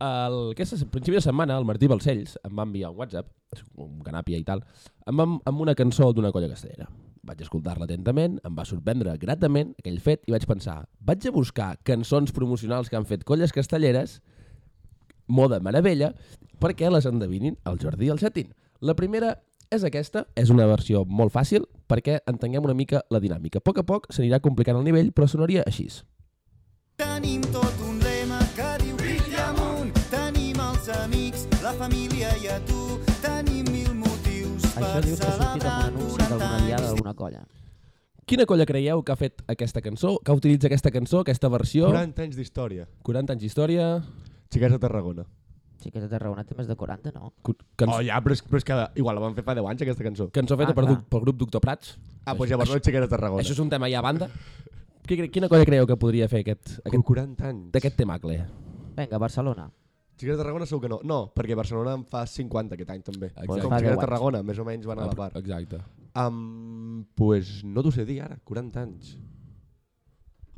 Speaker 2: el, aquesta se- principi de setmana el Martí Balcells em va enviar un WhatsApp, un canàpia i tal, em va, amb una cançó d'una colla castellera. Vaig escoltar-la atentament, em va sorprendre gratament aquell fet i vaig pensar, vaig a buscar cançons promocionals que han fet colles castelleres, moda meravella, perquè les endevinin el Jordi i el Xatín. La primera és aquesta, és una versió molt fàcil perquè entenguem una mica la dinàmica. A poc a poc s'anirà complicant el nivell, però sonaria així.
Speaker 5: Tenim tot un lema que diu Villa amunt. Tenim els amics, la família i a tu. Tenim mil motius
Speaker 3: Això
Speaker 5: per
Speaker 3: dius que ha sortit
Speaker 5: celebrar
Speaker 3: amb un anunci
Speaker 5: 40
Speaker 3: d'alguna diada
Speaker 5: anys.
Speaker 3: d'alguna colla.
Speaker 2: Quina colla creieu que ha fet aquesta cançó, que utilitza aquesta cançó, aquesta versió? 40,
Speaker 4: 40 anys d'història.
Speaker 2: 40 anys d'història...
Speaker 4: Xiquets de Tarragona.
Speaker 3: Sí que t'has raonat, té més de 40, no?
Speaker 2: cu- Cançó,
Speaker 4: Oh, ja, però és, però és que igual la van fer fa 10 anys, aquesta cançó.
Speaker 2: cançó feta
Speaker 3: Ah,
Speaker 2: per,
Speaker 3: clar.
Speaker 2: du- pel grup Doctor Prats.
Speaker 4: Ah, doncs llavors no Xiquets de Tarragona.
Speaker 2: Això és un tema ja a banda. Qui cre- Quina colla creieu que podria fer aquest,
Speaker 4: Però
Speaker 2: aquest
Speaker 4: 40 anys.
Speaker 2: d'aquest temacle?
Speaker 3: Vinga, Barcelona.
Speaker 4: Xiquets de Tarragona segur que no. No, perquè Barcelona en fa 50 aquest any també.
Speaker 2: Exacte.
Speaker 4: Com
Speaker 3: Fa
Speaker 4: Xiquets
Speaker 3: 10
Speaker 4: de Tarragona, més o menys van
Speaker 2: Ah,
Speaker 4: a la part.
Speaker 2: Exacte.
Speaker 4: Um, pues no t'ho sé dir ara, 40 anys.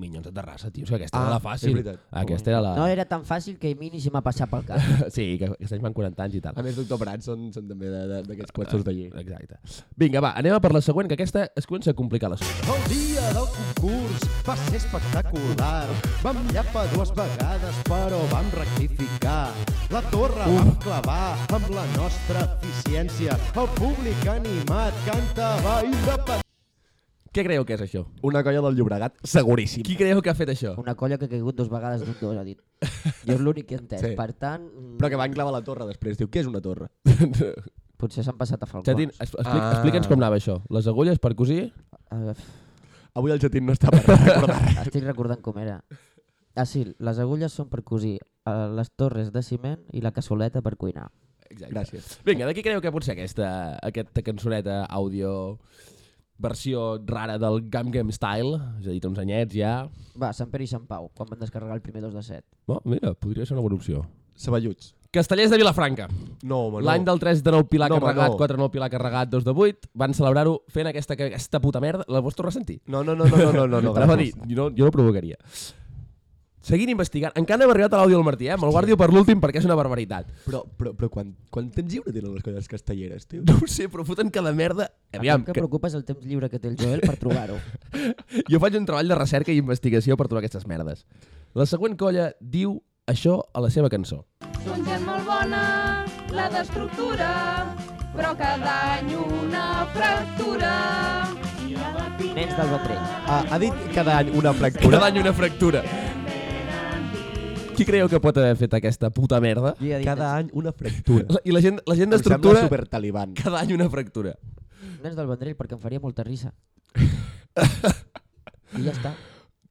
Speaker 2: Minyons de Terrassa, tio, és que aquesta
Speaker 4: Ah,
Speaker 2: era la
Speaker 4: és
Speaker 2: fàcil.
Speaker 4: veritat.
Speaker 2: Aquesta era la...
Speaker 3: No era tan fàcil que a mi ni se m'ha passat pel cap.
Speaker 2: Sí, que aquests anys van 40 anys i tal.
Speaker 4: A més, Doctor Prats són, són també de- de- d'aquests puestos d'allí.
Speaker 2: Exacte. Vinga, va, anem a per la següent, que aquesta es comença a complicar les coses.
Speaker 6: El dia del concurs va ser espectacular. Vam llapar dues vegades, però vam rectificar. La torre vam clavar amb la nostra eficiència. El públic animat cantava independent.
Speaker 2: Què creieu que és això?
Speaker 4: Una colla del Llobregat, seguríssim.
Speaker 2: Qui creieu que ha fet això?
Speaker 3: Una colla que ha caigut dos vegades d'un dos, ha dit. Jo és l'únic que he entès.
Speaker 4: Sí.
Speaker 3: Sí. Per tant, mm,
Speaker 4: Però que van clavar la torre després. Diu, què és una torre?
Speaker 3: potser s'han passat a falcons.
Speaker 2: Xatín, es- expli
Speaker 4: Ah.
Speaker 2: explica'ns com anava això. Les agulles per cosir?
Speaker 3: Uh,
Speaker 4: Avui el Jatín no està per recordar.
Speaker 3: estic recordant com era. Ah, sí, les agulles són per cosir eh, les torres de ciment i la cassoleta per cuinar.
Speaker 2: Exacte.
Speaker 4: Gràcies.
Speaker 2: Vinga, de qui creieu que pot ser aquesta, aquesta cançoneta àudio versió rara del Gam Gam Style? És a dir, té uns anyets ja...
Speaker 3: Va, Sant Pere i Sant Pau, quan van descarregar el primer 2 de 7.
Speaker 2: Oh, mira, podria ser una bona opció.
Speaker 4: Saballuts.
Speaker 2: Castellers de Vilafranca.
Speaker 4: No, home, no.
Speaker 2: L'any del 3 de 9 pilar
Speaker 4: No,
Speaker 2: no,
Speaker 4: home,
Speaker 2: carregat,
Speaker 4: no.
Speaker 2: 4 de 9 pilar carregat, 2 de 8, van celebrar-ho fent aquesta, aquesta puta merda. La vols tornar a sentir?
Speaker 4: No, no, no, no, no, no, no, no
Speaker 2: Te la va dir,
Speaker 4: gràcies.
Speaker 2: jo no, jo no provocaria. Seguint investigant, encara no hem arribat a l'àudio del Martí, eh? Me'l guardio per l'últim perquè és una barbaritat.
Speaker 4: Però, però, però quan, quan tens lliure tenen les colles castelleres, tio?
Speaker 2: No ho sé, però foten cada merda... Aviam,
Speaker 3: que
Speaker 2: que
Speaker 3: preocupa és el temps lliure que té el Joel per trobar-ho.
Speaker 2: jo faig un treball de recerca i investigació per trobar aquestes merdes. La següent colla diu això a la seva cançó.
Speaker 7: Són gent molt bona, la d'estructura, però cada any una fractura.
Speaker 3: Nens del Vendrell.
Speaker 4: Ah, ha dit cada any una fractura.
Speaker 2: Cada any una fractura. Qui creieu que pot haver fet aquesta puta merda?
Speaker 3: Jo ja he dit
Speaker 4: Cada
Speaker 3: nens-
Speaker 4: any una fractura.
Speaker 2: La- I la gent, la gent
Speaker 4: Em sembla
Speaker 2: d'estructura,
Speaker 4: supertaliban.
Speaker 2: cada any una fractura.
Speaker 3: Nens del Vendrell perquè em faria molta risa. I ja està.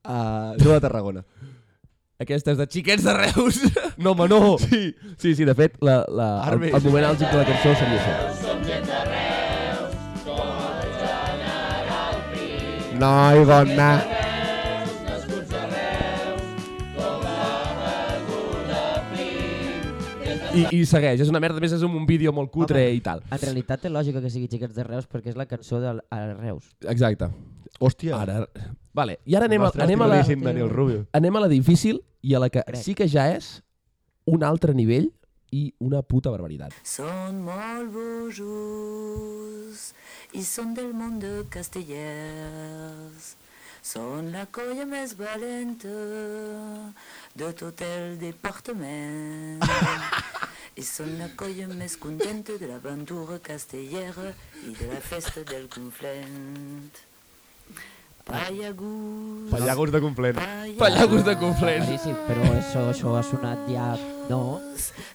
Speaker 4: Uh, no de Tarragona.
Speaker 2: Aquesta és de Xiquets de Reus.
Speaker 4: No, home, no!
Speaker 2: Sí, sí, sí de fet, la, la, el,
Speaker 4: Armes.
Speaker 2: el moment àlgic de la cançó seria això.
Speaker 4: Noi, dona.
Speaker 2: I, I segueix, és una merda, a més és un, un vídeo molt cutre
Speaker 3: Home.
Speaker 2: i tal.
Speaker 3: En realitat té lògica que sigui Xiquets de Reus perquè és la cançó de Reus.
Speaker 2: Exacte.
Speaker 4: Hòstia.
Speaker 2: Ara, vale, i ara anem, a,
Speaker 4: Nostre
Speaker 2: anem, a la,
Speaker 4: estimadíssim Daniel Rubio.
Speaker 2: anem a la difícil i a la que
Speaker 3: Crec.
Speaker 2: sí que ja és un altre nivell i una puta barbaritat.
Speaker 8: Són molt bojos i són del món de castellers. Són la colla més valenta de tot el departament. I són la colla més contenta de l'aventura castellera i de la festa del conflent. Pallagus,
Speaker 4: Pallagos de complent.
Speaker 2: Pallagos de conflent.
Speaker 3: Sí, sí, però això, això ha sonat ja... No,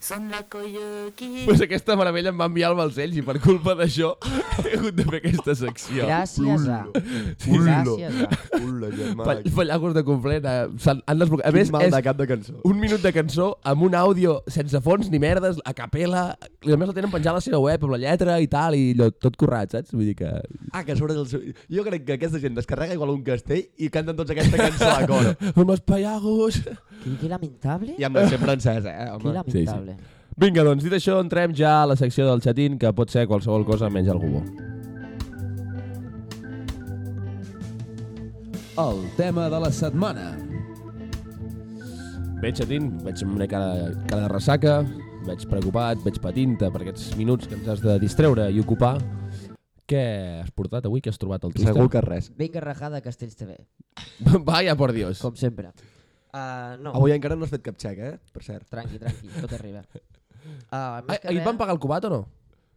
Speaker 8: són la colla qui...
Speaker 2: Pues aquesta meravella em va enviar al Balcells i per culpa d'això he hagut de fer aquesta secció.
Speaker 3: gràcies a...
Speaker 2: Sí, sí.
Speaker 3: Gràcies a...
Speaker 4: Ulla, germà.
Speaker 2: Pall- Pallagos de conflent. eh, s'han- han desbloquejat. A
Speaker 4: Més
Speaker 2: més,
Speaker 4: mal de
Speaker 2: és
Speaker 4: cap de cançó.
Speaker 2: un minut de cançó amb un àudio sense fons ni merdes, a capella, i a més la tenen penjada a la seva web amb la lletra i tal, i allò, tot currat, saps? Vull dir que...
Speaker 4: Ah, que sobre del seu... Jo crec que aquesta gent descarrega igual un castell i canten tots aquesta cançó a cor.
Speaker 2: Amb els pallagos...
Speaker 3: Que, que lamentable.
Speaker 4: I amb l'accent francès, eh,
Speaker 3: Que
Speaker 4: home.
Speaker 3: lamentable.
Speaker 2: Vinga, doncs, dit això, entrem ja a la secció del xatín, que pot ser qualsevol cosa menys el gubó.
Speaker 6: El tema de la setmana.
Speaker 2: Bé, xatín, veig amb una cara, cara de ressaca, veig preocupat, veig patinta per aquests minuts que ens has de distreure i ocupar. Què has portat avui? Què has trobat al Twitter?
Speaker 4: Segur que res.
Speaker 3: Vinga, rajada Castells TV,
Speaker 2: Vaya, por Dios.
Speaker 3: com sempre. Uh, no,
Speaker 4: Avui encara no has fet cap xec, eh? Per cert.
Speaker 3: tranqui, tranqui, tot arriba.
Speaker 2: Ai, Eh,
Speaker 3: Uh,
Speaker 2: ahir et Ah, van pagar el cubat o no?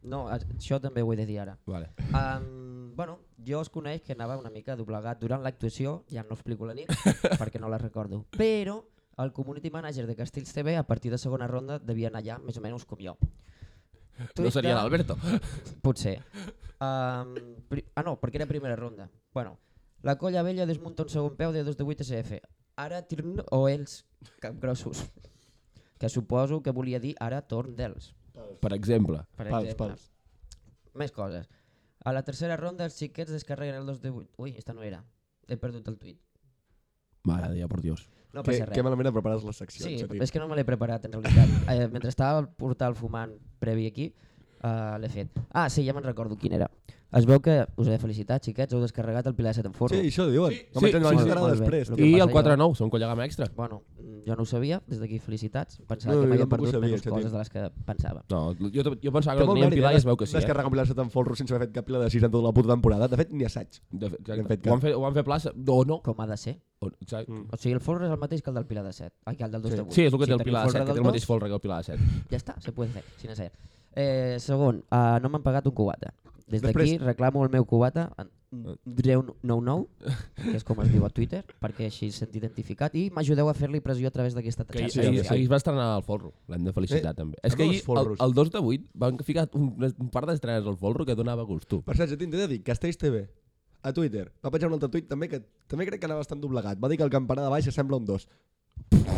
Speaker 3: No, a- això també ho he de dir ara.
Speaker 2: Vale.
Speaker 3: Um, bueno, jo us coneix que anava una mica doblegat durant l'actuació, ja no explico la nit perquè no la recordo, però el community manager de Castells TV a partir de segona ronda devia anar allà més o menys com jo.
Speaker 2: No seria l'Alberto.
Speaker 3: Potser. Um, pri- ah, no, perquè era primera ronda. Bueno, la colla vella desmunta un segon peu de 2 de 8 SF. Ara torn o ells, capgrossos. Que suposo que volia dir ara torn d'ells,
Speaker 2: Per exemple.
Speaker 3: per
Speaker 4: Pals,
Speaker 3: exemple.
Speaker 4: pals.
Speaker 3: Més coses. A la tercera ronda els xiquets descarreguen el 2 de 8. Ui, esta no era. He perdut el tuit.
Speaker 2: Mare de Déu, por Dios.
Speaker 3: No
Speaker 4: Que,
Speaker 3: passa res.
Speaker 4: que malament et prepares les seccions.
Speaker 3: Sí,
Speaker 4: a mi.
Speaker 3: és que no me l'he preparat, en realitat. Eh, mentre estava al portal fumant previ aquí, eh, l'he fet. Ah, sí, ja me'n recordo quin era. Es veu que us he de felicitar, xiquets, heu descarregat el Pilar de Setenforro.
Speaker 4: Sí, això diuen. Sí,
Speaker 2: sí,
Speaker 4: Home, sí,
Speaker 2: sí,
Speaker 4: sí,
Speaker 2: sí.
Speaker 4: sí,
Speaker 3: Molt bé.
Speaker 4: després.
Speaker 3: Lo
Speaker 4: tio.
Speaker 3: que
Speaker 2: I
Speaker 3: passa
Speaker 2: el
Speaker 3: jo.
Speaker 2: 4-9, són collegam extra.
Speaker 3: Bueno, mm, jo no ho sabia, des d'aquí felicitats. Pensava
Speaker 4: No,
Speaker 3: que
Speaker 4: jo
Speaker 3: m'havia
Speaker 4: tampoc ho
Speaker 3: perdut
Speaker 4: sabia,
Speaker 3: menys
Speaker 4: això,
Speaker 3: coses
Speaker 4: tio.
Speaker 3: de les que pensava.
Speaker 2: No, jo, jo pensava que
Speaker 4: Té
Speaker 2: no
Speaker 4: molt
Speaker 2: tenien
Speaker 4: mèrit,
Speaker 2: pilar
Speaker 4: eh,
Speaker 2: i es veu que sí, eh?
Speaker 4: Descarregar compilar-se tan folro sense haver fet cap pila de sis en tota la puta temporada. De fet, ni assaig.
Speaker 2: De fet,
Speaker 4: N'hem
Speaker 2: exacte.
Speaker 4: fet
Speaker 2: Ho van fer, ho van fer plaça, o no.
Speaker 3: Com ha de ser.
Speaker 2: O, exacte.
Speaker 4: Mm.
Speaker 3: O sigui, el folre és el mateix que el del Pilar de 7. Ai, que el del 2 de 8.
Speaker 2: Sí, és el que té el
Speaker 3: teniu
Speaker 2: Pilar de 7,
Speaker 3: folre
Speaker 2: que
Speaker 3: del
Speaker 2: té el mateix
Speaker 3: dos,
Speaker 2: folre que el Pilar de 7.
Speaker 3: Ja està, se puede fer, sin hacer. Eh, segon, uh, no m'han pagat un cubata. Des d'aquí
Speaker 4: Després-
Speaker 3: reclamo el meu cubata, en Dreu 99, que és com es diu a Twitter, perquè així sent identificat, i m'ajudeu a fer-li pressió a través d'aquesta
Speaker 2: Que ahir,
Speaker 3: xarxa.
Speaker 4: Sí,
Speaker 2: sí, ahir,
Speaker 4: sí.
Speaker 2: ahir es va estrenar el Folro, l'hem de felicitar
Speaker 4: Eh,
Speaker 2: també. És que
Speaker 4: parlo
Speaker 2: ahir,
Speaker 4: dels
Speaker 2: el,
Speaker 4: folros.
Speaker 2: el 2 de 8, van ficar un, un par d'estrenes al Folro que donava gust, tu.
Speaker 4: Per cert, jo t'he de dir, Castells TV, a Twitter, va penjar un altre tuit també que també crec que anava bastant doblegat. Va dir que el campanar de baix sembla un dos.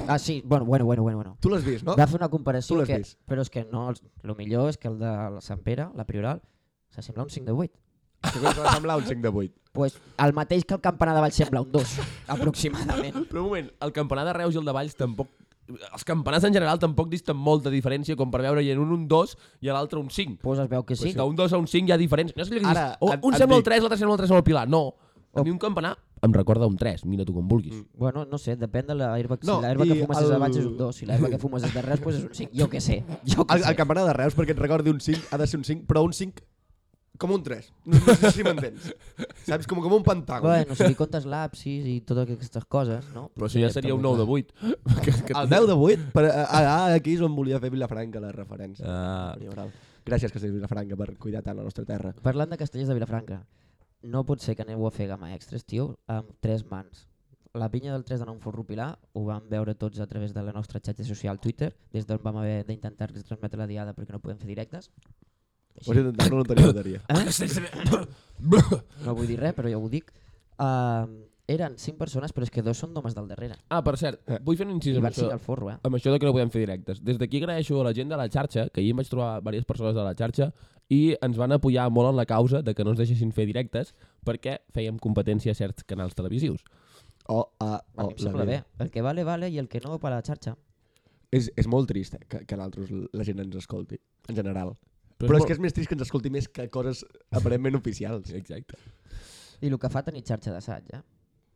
Speaker 3: Ah, sí, bueno, bueno, bueno, bueno. bueno.
Speaker 4: Tu l'has vist, no?
Speaker 3: Va fer una
Speaker 4: Ah, Tu
Speaker 3: comparació,
Speaker 4: l'has
Speaker 3: que,
Speaker 4: vist.
Speaker 3: però és que no, els- lo millor és que el de la Sant Pere, la Prioral, s'assembla a un 5 de 8.
Speaker 4: Que va semblar un 5 de 8.
Speaker 3: Pues el mateix que el campanar de Vall sembla un 2, aproximadament.
Speaker 2: Però un moment, el campanar de Reus i el de Valls tampoc... Els campanars en general tampoc disten molta diferència com per veure en un un 2 i a l'altre un 5.
Speaker 3: Pues es veu que sí.
Speaker 2: Sí. D'un 2 a un 5 hi ha diferència. No és allò que
Speaker 4: Ara,
Speaker 2: dius, o,
Speaker 4: et-
Speaker 2: un
Speaker 4: et
Speaker 2: sembla el
Speaker 4: dic-
Speaker 2: 3, l'altre sembla el 3 amb el Pilar. No, a mi un campanar Oh. em recorda un 3, mira tu com vulguis. Mm.
Speaker 3: Bueno, no sé, depèn de l'herba. No,
Speaker 4: No,
Speaker 3: si l'herba
Speaker 4: i
Speaker 3: que fumes el... és
Speaker 4: el-
Speaker 3: abans és un 2, si l'herba que fumes és de res, doncs és un 5. Jo què sé. Jo què
Speaker 4: El, el
Speaker 3: sé.
Speaker 4: campanar de Reus, perquè et recordi un 5, ha de ser un 5, però un 5 com un 3. No, no sé si m'entens. Saps? Com, com un pentàgon.
Speaker 3: Bueno, si li comptes l'absis i totes aquestes coses, no?
Speaker 2: Però això ja seria un 9 de 8. que, que
Speaker 4: El 10 de 8, per, ah, ah, aquí és on volia fer Vilafranca la referència.
Speaker 2: Ah,
Speaker 4: Ah. Gràcies, Castell Vilafranca, per cuidar tant la nostra terra.
Speaker 3: Parlant de castellers de Vilafranca, no pot ser que aneu a fer gama extres, tio, amb tres mans. La pinya del 3 de nou Forrupilar ho vam veure tots a través de la nostra xarxa social Twitter, des d'on vam haver d'intentar transmetre la diada perquè no podem fer directes. Eh?
Speaker 4: Ho has intentat, però no tenia bateria.
Speaker 3: No vull dir res, però ja ho dic. Uh, eren cinc persones, però és que dos són d'homes del darrere.
Speaker 2: ah, per cert, vull fer un incís
Speaker 3: I
Speaker 2: amb
Speaker 3: van
Speaker 2: això,
Speaker 3: ser al forro, eh?
Speaker 2: amb això de que no podem fer directes. Des d'aquí agraeixo a la gent de la xarxa, que ahir em vaig trobar diverses persones de la xarxa, i ens van apoyar molt en la causa de que no ens deixessin fer directes perquè fèiem competència a certs canals televisius.
Speaker 4: Oh, ah,
Speaker 3: A
Speaker 4: oh,
Speaker 3: mi em
Speaker 4: la
Speaker 3: sembla bé.
Speaker 4: vida.
Speaker 3: El que vale, vale, i el que no, per la xarxa.
Speaker 4: És, és molt trist eh, que, que nosaltres la gent ens escolti, en general. Però, és, que és més trist que ens escolti més que coses aparentment oficials.
Speaker 2: Exacte.
Speaker 3: I el que fa tenir xarxa d'assaig, eh?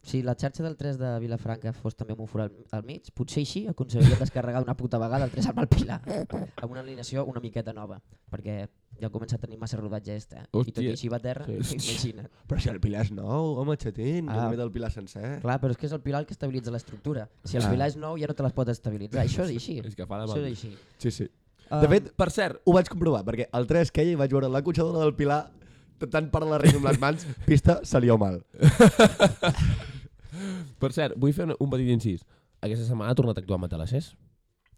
Speaker 3: Si la xarxa del 3 de Vilafranca fos també amb un forat al mig, potser així aconseguiria descarregar d'una puta vegada el 3 amb el Pilar, amb una alineació una miqueta nova, perquè ja comença a tenir massa rodatge este, eh? I tot i
Speaker 2: Hòstia.
Speaker 3: així va a terra,
Speaker 2: Sí.
Speaker 3: sí. imagina't.
Speaker 4: Però si el Pilar és nou, home, xatín,
Speaker 3: Ah.
Speaker 4: ah. el Pilar sencer.
Speaker 3: Clar, però és que és el Pilar el que estabilitza l'estructura. Si el Pilar és nou, ja no te les pot estabilitzar. Això és així.
Speaker 2: Ah. És que fa de
Speaker 3: Això
Speaker 2: mal.
Speaker 3: és així.
Speaker 4: Sí, sí.
Speaker 3: Ah.
Speaker 4: De fet,
Speaker 2: Per cert,
Speaker 4: ho vaig comprovar, perquè el 3 que hi vaig veure la cotxadora del Pilar tant per la reina amb les mans, pista, se li mal.
Speaker 2: per cert, vull fer un, un petit incís. Aquesta setmana ha tornat a actuar Matalassers.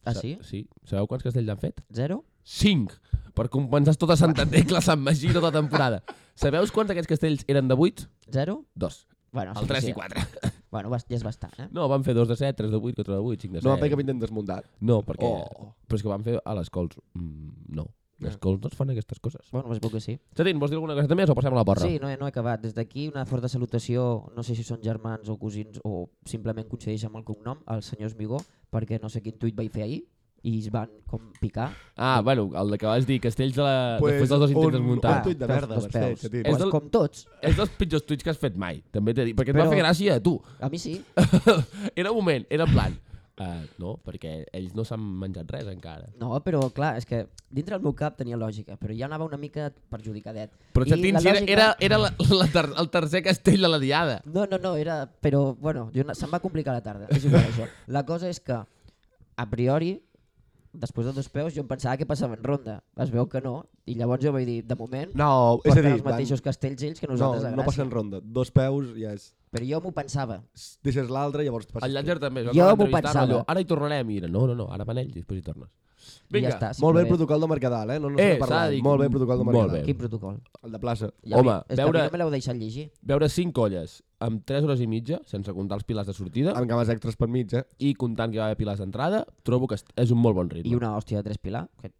Speaker 3: Ah, sí?
Speaker 2: Sí. Sabeu quants castells han fet?
Speaker 3: Zero?
Speaker 2: 5 per compensar tota Santa Tecla, Sant Magí, tota la temporada. Sabeu quants d'aquests castells eren de 8?
Speaker 3: Zero?
Speaker 2: 2.
Speaker 3: Bueno,
Speaker 2: El 3 i
Speaker 3: suficient.
Speaker 2: 4.
Speaker 3: Bueno, bas- ja és bastant, eh?
Speaker 2: No, van fer 2 de 7, 3 de 8, 4 de 8, 5 de 7.
Speaker 4: No va fer cap intent desmuntat.
Speaker 2: No, perquè...
Speaker 4: Oh.
Speaker 2: Oh. Però és que van fer a les cols. Mm, no.
Speaker 4: Ah.
Speaker 2: Les cols no es fan aquestes coses.
Speaker 3: Bueno, es veu que sí.
Speaker 2: Xatín, vols dir alguna coseta més o passem a la porra?
Speaker 3: Sí, no he, no he acabat. Des d'aquí una forta salutació, no sé si són germans o cosins o simplement coincideix amb el cognom, els senyors Migó, perquè no sé quin tuit vaig fer ahir i es van com picar.
Speaker 2: Ah, bueno, el de que vas dir, castells de la... Pues després dels dos intents
Speaker 4: un
Speaker 2: desmuntar.
Speaker 4: tuit de
Speaker 3: peus,
Speaker 4: merda,
Speaker 3: Ah, dos peus.
Speaker 4: Mercè, xatín.
Speaker 2: És
Speaker 3: Pues,
Speaker 2: del-
Speaker 3: Com tots,
Speaker 2: És dels pitjors tuits que has fet mai, també t'he dit, perquè et
Speaker 3: Però-
Speaker 2: va fer gràcia a tu.
Speaker 3: a mi sí.
Speaker 2: era un moment, era en plan... Uh, no, perquè ells no s'han menjat res encara.
Speaker 3: No, però clar, és que dintre del meu cap tenia lògica, però ja anava una mica perjudicadet.
Speaker 2: Però
Speaker 3: I
Speaker 2: Xatín,
Speaker 3: la
Speaker 2: si era,
Speaker 3: lògica-
Speaker 2: era, era la, la ter el tercer castell de la diada.
Speaker 3: No, no, no, era... Però, bueno, jo, na- se'm va complicar la tarda, és igual això. La cosa és que, a priori, després de dos peus, jo em pensava que passava en ronda. Es veu que no, i llavors jo vaig dir, de moment,
Speaker 4: No, és a
Speaker 3: porten
Speaker 4: dir,
Speaker 3: els mateixos castells ells que
Speaker 4: no,
Speaker 3: nosaltres a
Speaker 4: no
Speaker 3: Gràcia.
Speaker 4: passen ronda. Dos peus, ja és...
Speaker 3: Però jo m'ho pensava.
Speaker 4: Deixes l'altre, llavors passes.
Speaker 2: El Llànger també. es va
Speaker 3: Jo
Speaker 2: acabar
Speaker 3: m'ho
Speaker 2: entrevistant,
Speaker 3: pensava.
Speaker 2: rotllo, Ara hi tornarem. I era, no, no, no, ara van ells, després hi tornes.
Speaker 3: I
Speaker 2: Vinga,
Speaker 3: ja està.
Speaker 4: Molt bé
Speaker 3: superbé.
Speaker 4: el protocol de Mercadal, eh? No, no
Speaker 2: Eh,
Speaker 4: eh,
Speaker 2: s'ha
Speaker 4: parlat.
Speaker 2: de dir-
Speaker 4: Molt bé el protocol de
Speaker 2: molt
Speaker 4: Mercadal.
Speaker 2: bé.
Speaker 3: Quin protocol?
Speaker 4: El de plaça.
Speaker 3: Ja
Speaker 2: Home,
Speaker 3: veure... És que a mi
Speaker 2: veure-
Speaker 3: no me l'heu deixat llegir.
Speaker 2: veure cinc colles amb 3 hores i mitja, sense comptar els pilars de sortida,
Speaker 4: Amb cames extres per mig, eh?
Speaker 2: i comptant que hi va haver pilars d'entrada, trobo que est- és un molt bon ritme.
Speaker 3: I una hòstia de tres pilar, que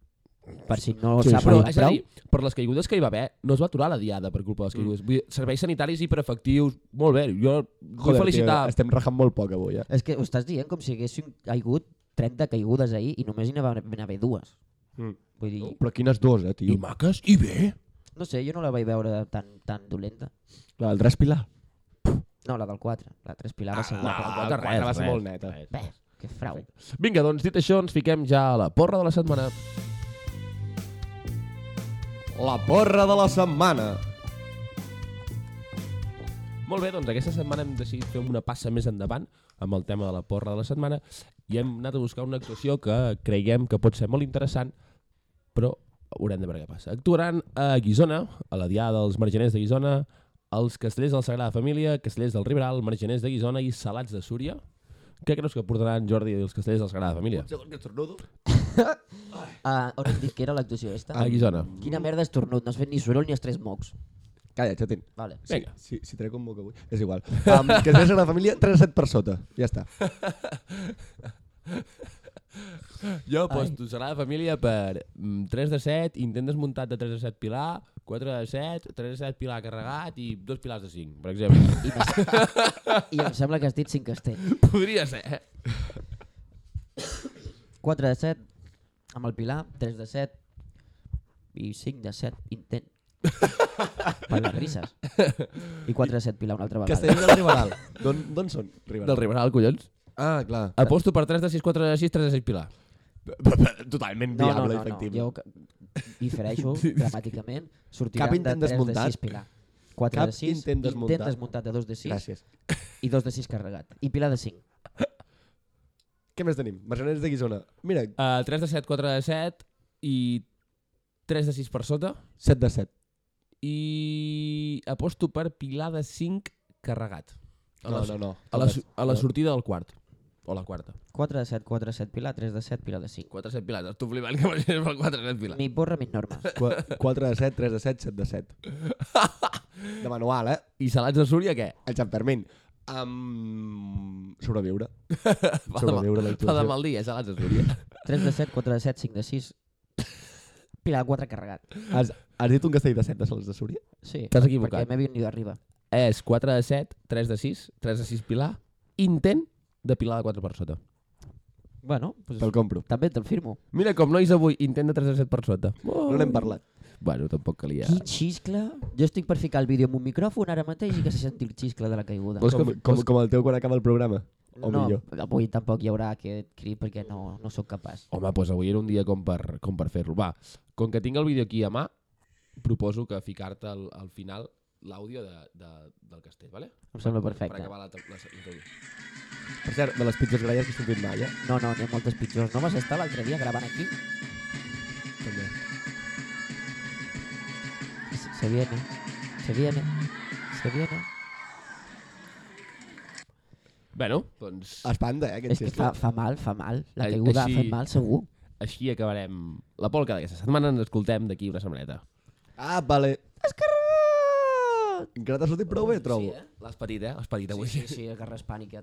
Speaker 3: per si no
Speaker 4: Sí,
Speaker 3: s'ha
Speaker 4: sí.
Speaker 2: Però,
Speaker 3: parlat
Speaker 2: és a
Speaker 3: prou.
Speaker 2: dir, per les caigudes que hi va haver, no es va aturar la diada per culpa de les caigudes. Mm. Vull dir, serveis sanitaris hiperefectius, molt bé. Jo vull
Speaker 4: Joder,
Speaker 2: felicitar...
Speaker 4: Tio, estem rajant molt poc avui, eh?
Speaker 3: És que ho estàs dient com si haguessin caigut 30 caigudes ahir i només hi n'hi va haver dues.
Speaker 4: Mm.
Speaker 3: Vull dir,
Speaker 4: Però quines dues, eh,
Speaker 2: I
Speaker 4: tio?
Speaker 2: maques, i bé.
Speaker 3: no sé, jo no la vaig veure tan, tan dolenta.
Speaker 4: La del Tres Pilar.
Speaker 3: No, la del 4. La 3 Pilar va ser guapa.
Speaker 2: Ah, quatre,
Speaker 4: quatre va ser molt neta.
Speaker 3: Bé, que frau.
Speaker 2: Vinga, doncs dit això, ens fiquem ja a la porra de la setmana.
Speaker 4: La porra de la setmana.
Speaker 2: Molt bé, doncs aquesta setmana hem decidit fer una passa més endavant amb el tema de la porra de la setmana i hem anat a buscar una actuació que creiem que pot ser molt interessant, però haurem de veure què passa. Actuaran a Guisona, a la Diada dels Marginers de Guisona, els Castellers de la Sagrada Família, Castellers del Riberal, Marginers de Guisona i Salats de Súria. Què creus que portaran Jordi i els Castellers de la Sagrada Família?
Speaker 3: Ah, on hem dit que era l'actuació aquesta?
Speaker 2: A Guisona.
Speaker 3: Quina merda és tornut, no has fet ni soroll ni els tres mocs.
Speaker 4: Calla, xatín.
Speaker 3: Vale.
Speaker 2: Vinga.
Speaker 4: Si, si trec un boc avui, és igual. Um, que es a la família 3 a 7 per sota. Ja està.
Speaker 2: Jo doncs, posto Sagrada Família per mm, 3 de 7, intent desmuntat de 3 de 7 Pilar, 4 de 7, 3 de 7 Pilar carregat i dos Pilars de 5, per exemple.
Speaker 3: I, m'es- I em sembla que has dit 5 castells.
Speaker 2: Podria ser, eh?
Speaker 3: 4 de 7 amb el Pilar, 3 de 7 i 5 de 7 intent. per les risses. I 4 de 7 Pilar una altra vegada.
Speaker 4: Castelló del Riberal. D'on d'on són? Riberal.
Speaker 2: Del Riberal, collons.
Speaker 4: Ah, clar.
Speaker 2: Aposto per 3 de 6, 4 de 6, 3 de 6 Pilar.
Speaker 3: no,
Speaker 4: Totalment
Speaker 3: no, no,
Speaker 4: viable,
Speaker 3: no.
Speaker 4: efectiu.
Speaker 3: Jo ca- difereixo dramàticament, sortiran
Speaker 4: Cap intent
Speaker 3: de 3
Speaker 4: desmuntat.
Speaker 3: de 6 pilar. 4
Speaker 4: Cap
Speaker 3: de 6,
Speaker 4: intent desmuntat.
Speaker 3: desmuntat de 2 de 6
Speaker 4: Gràcies.
Speaker 3: i 2 de 6 carregat. I pilar de 5.
Speaker 4: Què més tenim? Mercenaris de Guisona. Mira,
Speaker 2: Uh, 3 de 7, 4 de 7 i 3 de 6 per sota
Speaker 4: 7 de 7.
Speaker 2: i aposto per Pilar de 5 carregat. A la,
Speaker 4: No, no, no.
Speaker 2: A la, su- a la sortida del quart. O la quarta.
Speaker 3: 4 de 7, 4 de 7 pilar, 3 de 7 pilar de 5.
Speaker 2: 4 7 Pilar. Estic flipant que m'hagis pel 4 7 Pilar.
Speaker 3: Mi borra mis normes.
Speaker 4: 4 de 7, 3 de 7, 7 de 7. De manual, eh?
Speaker 2: I Salats de Súria, què?
Speaker 4: El Sant Fermín. Um, sobreviure.
Speaker 2: Fa de, mal,
Speaker 4: Sobreviure
Speaker 2: fa
Speaker 4: la
Speaker 2: de
Speaker 4: actuació.
Speaker 2: mal dia, Salats de Súria.
Speaker 3: 3 de 7, 4 de 7, 5 de 6. Pilar 4 carregat.
Speaker 4: Has, has dit un castell de 7 de sols de Súria?
Speaker 3: Sí,
Speaker 2: T'has
Speaker 3: perquè
Speaker 2: equivocat.
Speaker 3: m'he venido arriba.
Speaker 2: És 4 de 7, 3 de 6, 3 de 6 Pilar, intent de Pilar de 4 per sota.
Speaker 3: Bueno, pues,
Speaker 4: Te'l compro.
Speaker 3: també te'l firmo.
Speaker 2: Mira com nois avui, intent de 3 de 7 per sota. Oh.
Speaker 4: No n'hem parlat.
Speaker 2: Bueno, tampoc calia.
Speaker 3: Quin xiscle. Jo estic per ficar el vídeo amb un micròfon ara mateix i que se senti el xiscle de la caiguda.
Speaker 2: Vols que
Speaker 4: Com, com, com el teu quan acaba el programa. O
Speaker 3: no,
Speaker 4: millor.
Speaker 3: avui tampoc hi haurà aquest crit perquè no, no sóc capaç.
Speaker 2: Home, doncs avui era un dia com per, com per fer-lo. Va, com que tinc el vídeo aquí a mà, proposo que ficar-te al, al final l'àudio de, de, del castell, vale?
Speaker 3: Em sembla
Speaker 2: Per
Speaker 3: perfecte.
Speaker 2: acabar la, la, la
Speaker 4: Per cert, de les pitjors gralles que he sentit mai, eh?
Speaker 3: No, no, n'hi ha moltes pitjors. No vas estar l'altre dia gravant aquí?
Speaker 4: També.
Speaker 3: Se, se viene, se viene, se viene.
Speaker 2: Bueno, doncs
Speaker 4: Espanta, eh,
Speaker 3: És
Speaker 4: aquest
Speaker 3: que
Speaker 4: xiscle.
Speaker 3: fa, fa mal, fa mal. La
Speaker 2: Ai-
Speaker 3: caiguda
Speaker 2: així-
Speaker 3: ha fet mal, segur.
Speaker 2: així acabarem la polca d'aquesta setmana. Ens escoltem d'aquí una setmaneta.
Speaker 4: Ah, vale. Escarrat! Encara t'ha sortit prou bé, trobo.
Speaker 2: Sí, eh? L'has patit, eh? L'has patit avui.
Speaker 3: Sí, sí, sí, el garraspànic.